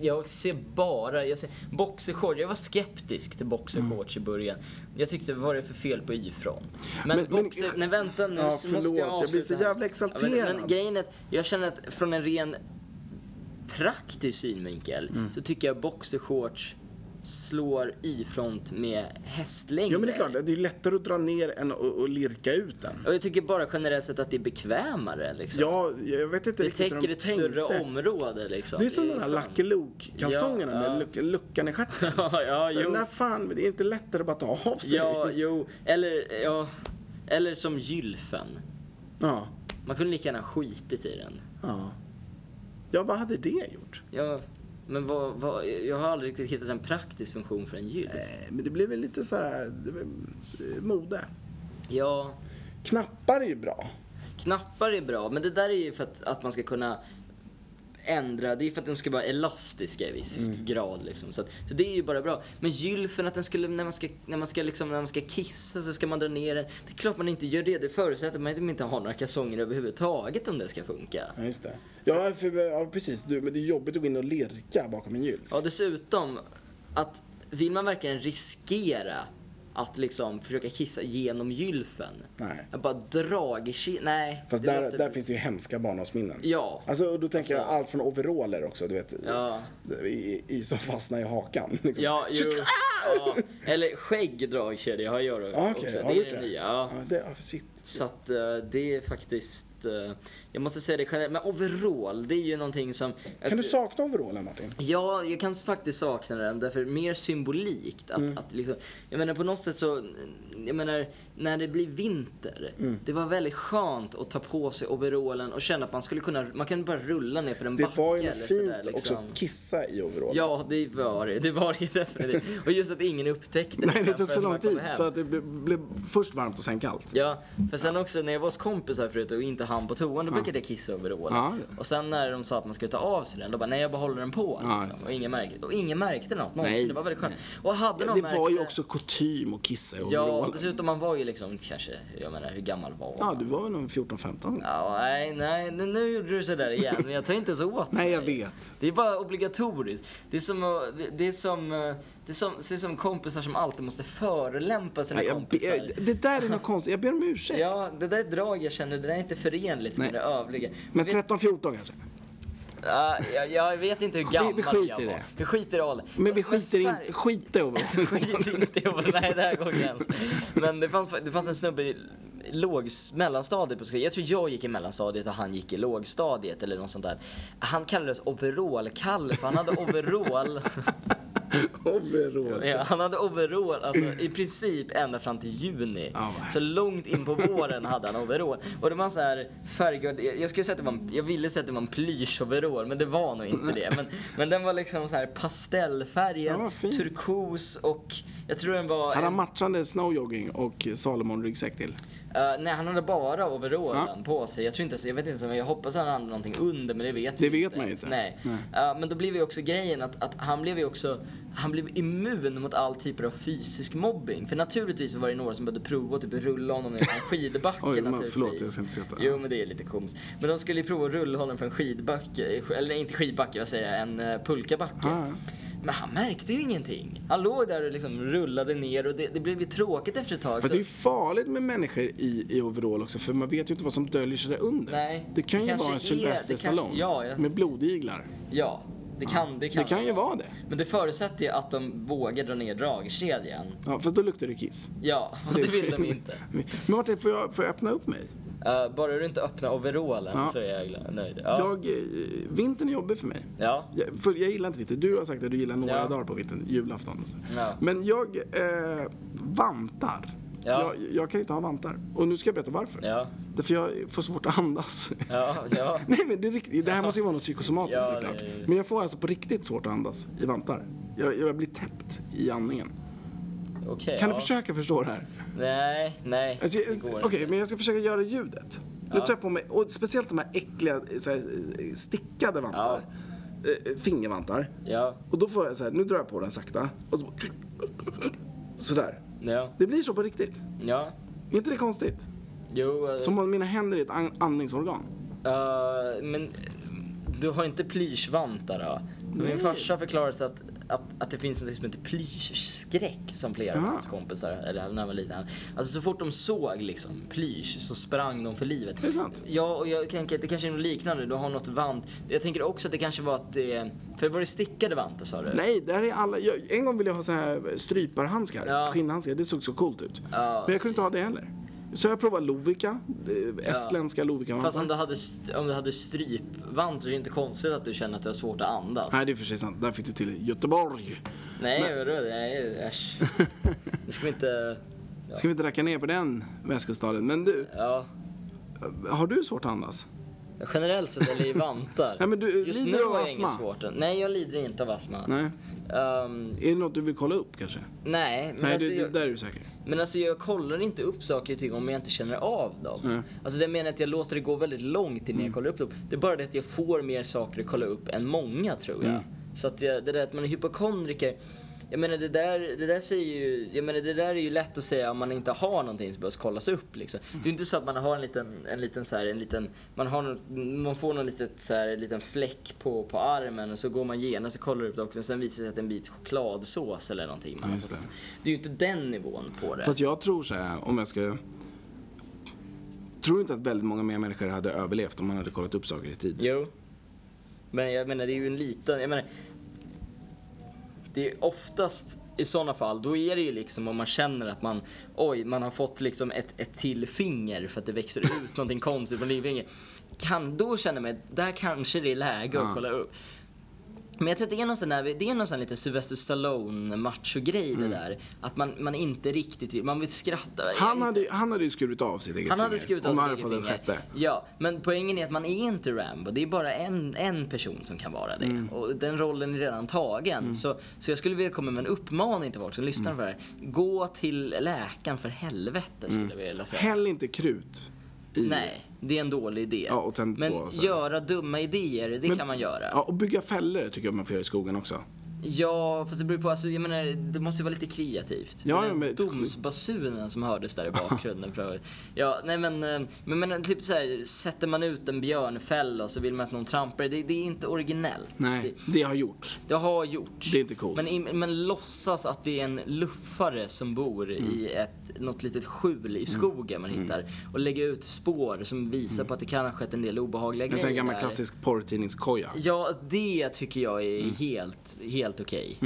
jag ser bara, jag ser boxershorts, jag var skeptisk till boxershorts i början. Jag tyckte, vad är det för fel på Y-front? Men,
Men- men-
boxer, nej vänta nu
Ja,
så måste
förlåt, jag
jag
blir
avsluta
så
här.
jävla
Ja, men, men
exalterad.
grejen är att jag känner att
Mm.
från en ren praktisk synvinkel så tycker jag boxershorts slår i front med hästlängder.
Ja men det är klart, det är ju lättare att dra ner än att att lirka ut den.
Och jag tycker bara generellt sett att det är bekvämare liksom.
Ja, jag vet inte
det
riktigt hur
täcker
de
ett
tänkte.
större område liksom.
Det är som de här
skönt.
Lucky Luke-kalsongerna
Ja,
med
ja.
luck- luckan i stjärten.
Ja, ja,
Så
jo.
när fan, det är inte lättare att bara ta av sig.
Ja, jo. Eller, ja. Eller som gylfen.
ja.
Man kunde lika gärna skitit i den.
Ja. Ja, vad hade det gjort?
Ja, men vad, vad, jag har aldrig riktigt hittat en praktisk funktion för en gylf.
Eh, Men det blev väl lite så här det blev, eh, mode.
Ja,
Knappar är ju bra.
knappar är bra, men det där är ju för att, att man ska kunna ändra, det är för att de ska vara elastiska i viss
Mm.
grad liksom. Så, att, så det är ju bara bra. Men gylfen, att den skulle, när man ska, när man ska liksom, när man ska kissa så ska man dra ner den. Det är klart man inte gör det, det förutsätter att man inte- inte har några kalsonger överhuvudtaget om det ska funka.
Ja, just det. Ja, för, ja precis. Du, men det är jobbigt att gå in och lirka bakom en gylf.
Ja, dessutom att vill man verkligen riskera att liksom försöka kissa genom gylfen?
Nej.
Att bara dra i ki- Nej.
Fast
det
där,
låter-
där finns det ju hemska barndomsminnen.
Ja.
Alltså, och då tänker
Alltså-
jag allt från overaller också, du vet.
Ja.
I, i, som fastnar i hakan. Liksom.
Ja, jo. ja. Eller skägg dragkedja har jag då
Ah,
också.
Okej, Ah.
Det
har
är
du
det
gjort det?
nya. Ja.
ja det, ja, shit.
Så att eh, det är faktiskt, eh, jag måste säga det generellt, men overall, det är ju någonting som... Alltså,
Kan du sakna overallen, Martin?
Ja, jag kan faktiskt sakna den därför mer symbolikt att,
Mm.
att liksom, jag menar på något sätt så, jag menar när det blir vinter,
Mm.
det var väldigt skönt att ta på sig overallen och känna att man skulle kunna, man kan bara rulla ner för en
Det
backe
var ju
eller
något fint
sådär
också
liksom.
att kissa i overallen.
Ja, det var det. Det var det definitivt. Och just att ingen upptäckte
Nej, det
sen
tog så
förrän
lång
man kom
tid
hem.
så att det blev, blev först varmt och sen kallt.
Ja, för sen också när jag var hos kompisar förut och inte han på toan, då brukade jag kissa över
Ja.
Och sen när de sa att man skulle ta av sig den, då bara nej jag behåller den på.
Ja, just
liksom. och, ingen märkte, och ingen märkte något någonsin,
Nej,
det var väldigt skönt. Och hade
Ja,
någon
det
märkt
var ju också kutym att kissa i
Ja,
overallen.
och dessutom man var ju liksom kanske, jag menar hur gammal var
Ja,
man?
du var väl någon 14-15?
Ja, nej, nej, nu, nu gjorde du sådär igen, men jag tar inte så åt
Nej, jag
mig.
vet.
Det är bara obligatoriskt. Det är som, eh, det, det är som, eh, det är som, det är som kompisar som alltid måste förolämpa sina
Nej, jag be,
kompisar.
det där är något konstigt. Jag ber om ursäkt.
Ja, det där är ett drag jag känner, det där är inte förenligt
Nej.
med det övriga.
Men
Vet-
13-14 kanske?
Ja, jag, jag vet inte hur gammal
vi skiter
jag
i
var.
det.
Vi skiter i åldern.
Men vi skiter
färg-
in, skit i overallen.
Skit inte i åldern, nej det här går gräns. Men det fanns, det fanns en snubbe i låg, mellanstadiet på skolan. Jag tror jag gick i mellanstadiet och han gick i lågstadiet eller något sånt där. Han kallades overall-Kalle för han hade overall.
Overall.
Ja, han hade overall alltså, i princip ända fram till juni.
Ja, vad
Så långt in på våren hade han overall. Och det var en sån här färggrann, jag jag skulle säga att det var en, jag ville säga att det var en plysch-overall, men det var nog inte det. Men, men den var liksom så här pastellfärgen,
Ja, vad fint.
turkos och jag tror den var...
Han har
en-
matchande snowjogging och Salomon-ryggsäck till.
eh, nej, han hade bara overallen
Ja.
på sig. Jag tror inte, ens- jag vet inte, ens om- jag hoppas han hade någonting under, men det vet
Det
vi
vet
inte.
man ju
ens.
inte.
Nej. Eh, men då blev ju också grejen att, att han blev ju också, han blev immun mot all typer av fysisk mobbing. För naturligtvis var det några som började prova att typ rulla honom ner från skidbacken
Oj, men
naturligtvis.
förlåt, jag ska inte skratta.
Jo, men det är lite komiskt. Men de skulle ju prova att rulla honom från skidbacke, eller inte skidbacke, vad säger jag, en eh,
Ah,
pulkabacke.
Ja, ja.
Men han märkte ju ingenting. Han låg där och liksom rullade ner och det, det blev ju tråkigt efter ett tag.
Fast
så-
det är ju farligt med människor i, i overall också för man vet ju inte vad som döljer sig där under.
Nej,
det kan
det
ju
kanske
vara en
är-
Sylvester
det kanske-
Stallone
ja, ja.
med blodiglar.
Ja, det kan det. Kan,
Det kan ju vara det.
Men det förutsätter ju att de vågar dra ner dragkedjan.
Ja, fast då luktar det kiss.
Ja, och det vill de inte.
Men Martin, får jag, får jag öppna upp mig?
Eh, bara du inte öppnar overallen
Ja.
så är jag glad- nöjd. Ja.
Jag, eh, vintern är jobbig för mig.
ja.
Jag, för jag gillar inte vinter. Du har sagt att du gillar några
Ja.
dagar på vintern, julafton och så.
Ja.
Men jag eh, vantar.
Ja.
Jag, jag kan inte ha vantar. Och nu ska jag berätta varför.
Ja.
Därför jag får svårt att andas.
Ja, ja.
Nej men det, är riktigt, det här måste ju vara något psykosomatiskt
Ja, det-
såklart. Men jag får alltså på riktigt svårt att andas i vantar. Jag, jag blir täppt i andningen.
Okej.
Kan
ja.
du försöka förstå det här?
Nej, nej.
Alltså,
det
jag-
går
Okej,
inte.
men jag ska försöka göra ljudet. Nu tar jag på mig, och speciellt de här äckliga så här, stickade vantar. Eh, Fingervantar.
Ja,
Och då får jag så här, nu drar jag på den sakta. Och så bara- Sådär.
ja,
Det blir så på riktigt.
ja.
Är inte det konstigt?
Jo, eh,
Som om mina händer är ett an- andningsorgan.
eh, men du har inte plyschvantar då? Min farsa förklarade att att, att det finns något som heter plyschskräck som flera av
Aha.
hans kompisar, eller när jag var liten. Alltså så fort de såg liksom plysch så sprang de för livet.
Det är sant.
Ja, och jag tänker att det kanske är något liknande. Du har något vant. Jag tänker också att det kanske var att det... För var det stickade vantar sa du?
Nej, där är alla. Jag, en gång ville jag ha så här stryparhandskar,
Ja.
skinnhandskar. Det såg så coolt ut.
Ja.
Men jag kunde inte ha det heller. Så jag provade Lovikka, det- estländska Lovikka
Fast om du hade, st- om du hade strypvantar, det är inte konstigt att du känner att du har svårt att andas.
Nej, det är för sig sant. Där fick du till det. Göteborg.
Nej, vadå? Nej, äsch. Nu ska vi inte...
Ska vi inte racka ner på den västkustaden? Men du,
Ja.
har du svårt att andas?
Generellt sett, eller i vantar.
Nej, men du
Just
lider
nu
av
har jag
astma.
inget svårt. Nej, jag lider inte av astma.
Nej.
Ehm,
Är det något du vill kolla upp kanske?
nej, men
Nej,
alltså,
det, det,
jag,
där är du säker.
men alltså jag kollar inte upp saker och ting om jag inte känner av dem.
Nej. Mm.
Alltså det menar jag att jag låter det gå väldigt långt innan jag kollar upp dem. Det är bara det att jag får mer saker att kolla upp än många tror jag.
Mm.
Så att jag, det där att man är hypokondriker. Jag menar det där, det där säger ju, jag menar det där är ju lätt att säga om man inte har någonting som behövs kollas upp liksom. Det är inte så att man har en liten, en liten så här, en liten, man har något, man får någon litet så här, en liten fläck på, på armen och så går man genast och kollar upp det också. Sen visar det sig att det är en bit chokladsås eller någonting man
Ja,
har
just
fått.
det.
det är ju inte den nivån på det.
Fast jag tror så här, om jag ska... Tror inte att väldigt många mer människor hade överlevt om man hade kollat upp saker i tid.
Jo. Men jag menar, det är ju en liten... Jag menar, det är oftast i sådana fall, då är det ju liksom om man känner att man, oj, man har fått liksom ett, ett till finger för att det växer ut någonting konstigt från lillfingret. Kan, då känner man att där kanske det är läge att
Ja.
kolla upp. Men jag tror att det är någon sån där, det är någon sån lite Sylvester Stallone machogrej det där. Att man, man inte riktigt vill, man vill skratta.
Mm. Han hade, ju- han hade ju skurit av sitt eget
Han
finger.
hade skurit
om
av
han
sitt
hade
eget
fått ett
finger.
sjätte.
Ja, men poängen är att man är inte Rambo. Det är bara en, en person som kan vara det.
Mm.
Och den rollen är redan tagen. Så, så jag skulle vilja komma med en uppmaning till folk som
Mm.
lyssnar på det här. Gå till läkaren för helvete skulle jag
Mm.
vilja säga.
Häll inte krut i...
Nej, det är en dålig idé.
Ja, och tänd
men
på, så här.
göra dumma idéer, det
Men-
kan man göra.
Ja, och bygga fällor tycker jag man får göra i skogen också.
Ja, fast det beror på. Alltså, jag menar, det måste ju vara lite kreativt.
Ja,
Den
ja, men-
Domsbasunen som hördes där i bakgrunden. för övrigt. ja, nej men, eh, men, men typ så här, sätter man ut en björnfälla och så vill man att någon trampar i, det, det är inte originellt.
Nej,
Det,
det, har gjort.
det har gjorts.
Det är inte coolt.
Men, i- men låtsas att det är en luffare som bor i
Mm.
ett, något litet skjul i skogen man hittar. Och lägga ut spår som visar
Mm.
på att det kan ha skett en del obehagliga
En
grejer.
sån här gammal
där.
klassisk porrtidningskoja.
Ja, det tycker jag är helt, helt okej.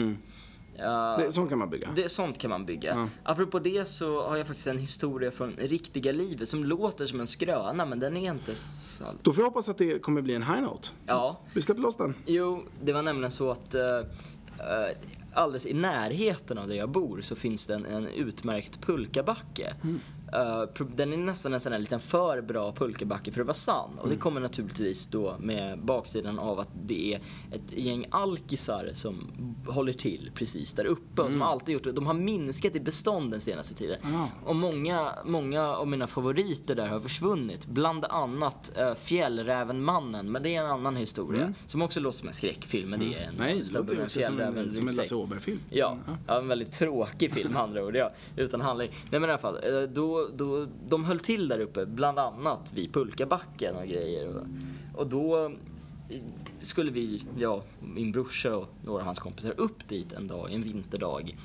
Ja,
Det, sån kan man bygga.
det, sånt kan man bygga. Apropå det så har jag faktiskt en historia från riktiga livet som låter som en skröna men den är inte... s-
Då får jag hoppas att det kommer bli en high note.
Ja.
Vi släpper loss den.
Jo, det var nämligen så att eh, eh, alldeles i närheten av där jag bor så finns det en, en utmärkt pulkabacke. Eh, pro- den är nästan en sån här liten för bra pulkabacke för att vara sann. Och det kommer naturligtvis då med baksidan av att det är ett gäng alkisar som håller till precis där uppe och som alltid gjort det. De har minskat i bestånd den senaste tiden.
Ja.
Och många, många av mina favoriter där har försvunnit. Bland annat eh, Fjällrävenmannen, men det är en annan historia. Som också låter som en skräckfilm, men det är en
Mm. Nej, det
snubbe
låter
med
ju
en
också som
fjällräven
en, som en
ryggsäck.
Lasse Åberg-film.
Ja,
Mm.
ja, en väldigt tråkig film med andra ord. Ja, utan handling. Nej men i alla fall, eh, då, då, de höll till där uppe, bland annat vid pulkabacken och grejer. Och, och då eh, skulle vi, jag, min brorsa och några av hans kompisar upp dit en dag, en vinterdag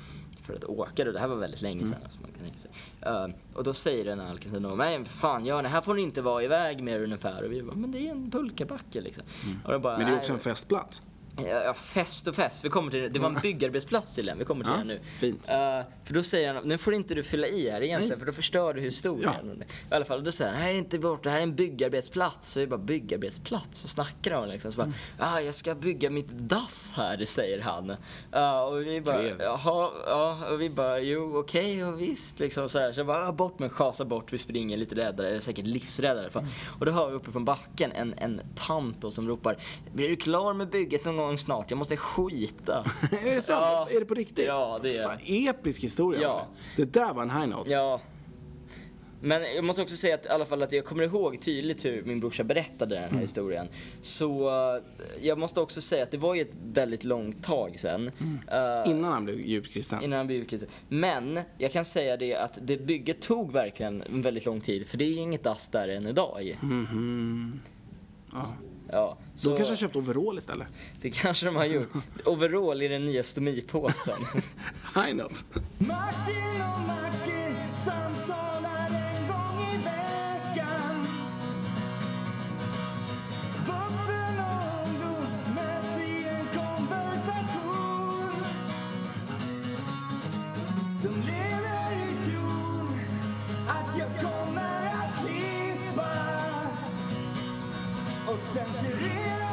för att åka då. Det här var väldigt
Mm.
länge sedan. Så man kan tänka sig. Eh, och då säger den här alkisen då, nej fan gör ni, här får ni inte vara iväg mer ungefär. Och vi bara, men det är en pulkabacke liksom. Och då bara,
Mm. Men det är
"Nej,
också en festplats.
Ja, ja, fest och fest. Vi kommer till det. Det var en byggarbetsplats till den. Vi kommer till
Mm. Ja,
den nu.
fint.
Eh, för då säger han, nu får inte du fylla i här egentligen för då förstör du historien. I alla fall, då säger han, här är inte bort, det här är en byggarbetsplats. Så vi bara, byggarbetsplats? Vad snackar de om liksom?
Mm.
Så bara, ah, jag ska bygga mitt dass här, säger han. Eh, och vi bara,
Trevligt.
jaha, ja. Och vi bara, jo okej, och visst liksom så här. Så jag bara, ah, bort med schasa bort, vi springer lite räddare, eller säkert livsräddare.
Mm.
För. Och då hör vi uppe från backen en, en tant då som ropar, blir du klar med bygget någon gång snart? Jag måste skita.
är det sant?
Ja.
Är det på riktigt?
Ja, det är det.
Fan, episk historia.
Ja.
var Det Det där var en high note.
Ja. Men jag måste också säga att, i alla fall att jag kommer ihåg tydligt hur min brorsa berättade den här
Mm.
historien. Så eh, jag måste också säga att det var ju ett väldigt långt tag sen. eh,
Innan han blev djupt kristen.
innan han blev kristen. Men jag kan säga det att det bygget tog verkligen en väldigt lång tid för det är inget dass där än idag.
Mhm. Mm-hmm. Ja.
Ja,
Så...
så
Då kanske jag köpt overall istället.
det kanske de har gjort. Overall är den nya stomipåsen.
I not.
Martin och Martin samtalar en gång i veckan. Vuxen och ungdom möts i en konversation. De lever i tron att jag kommer att klippa och censurera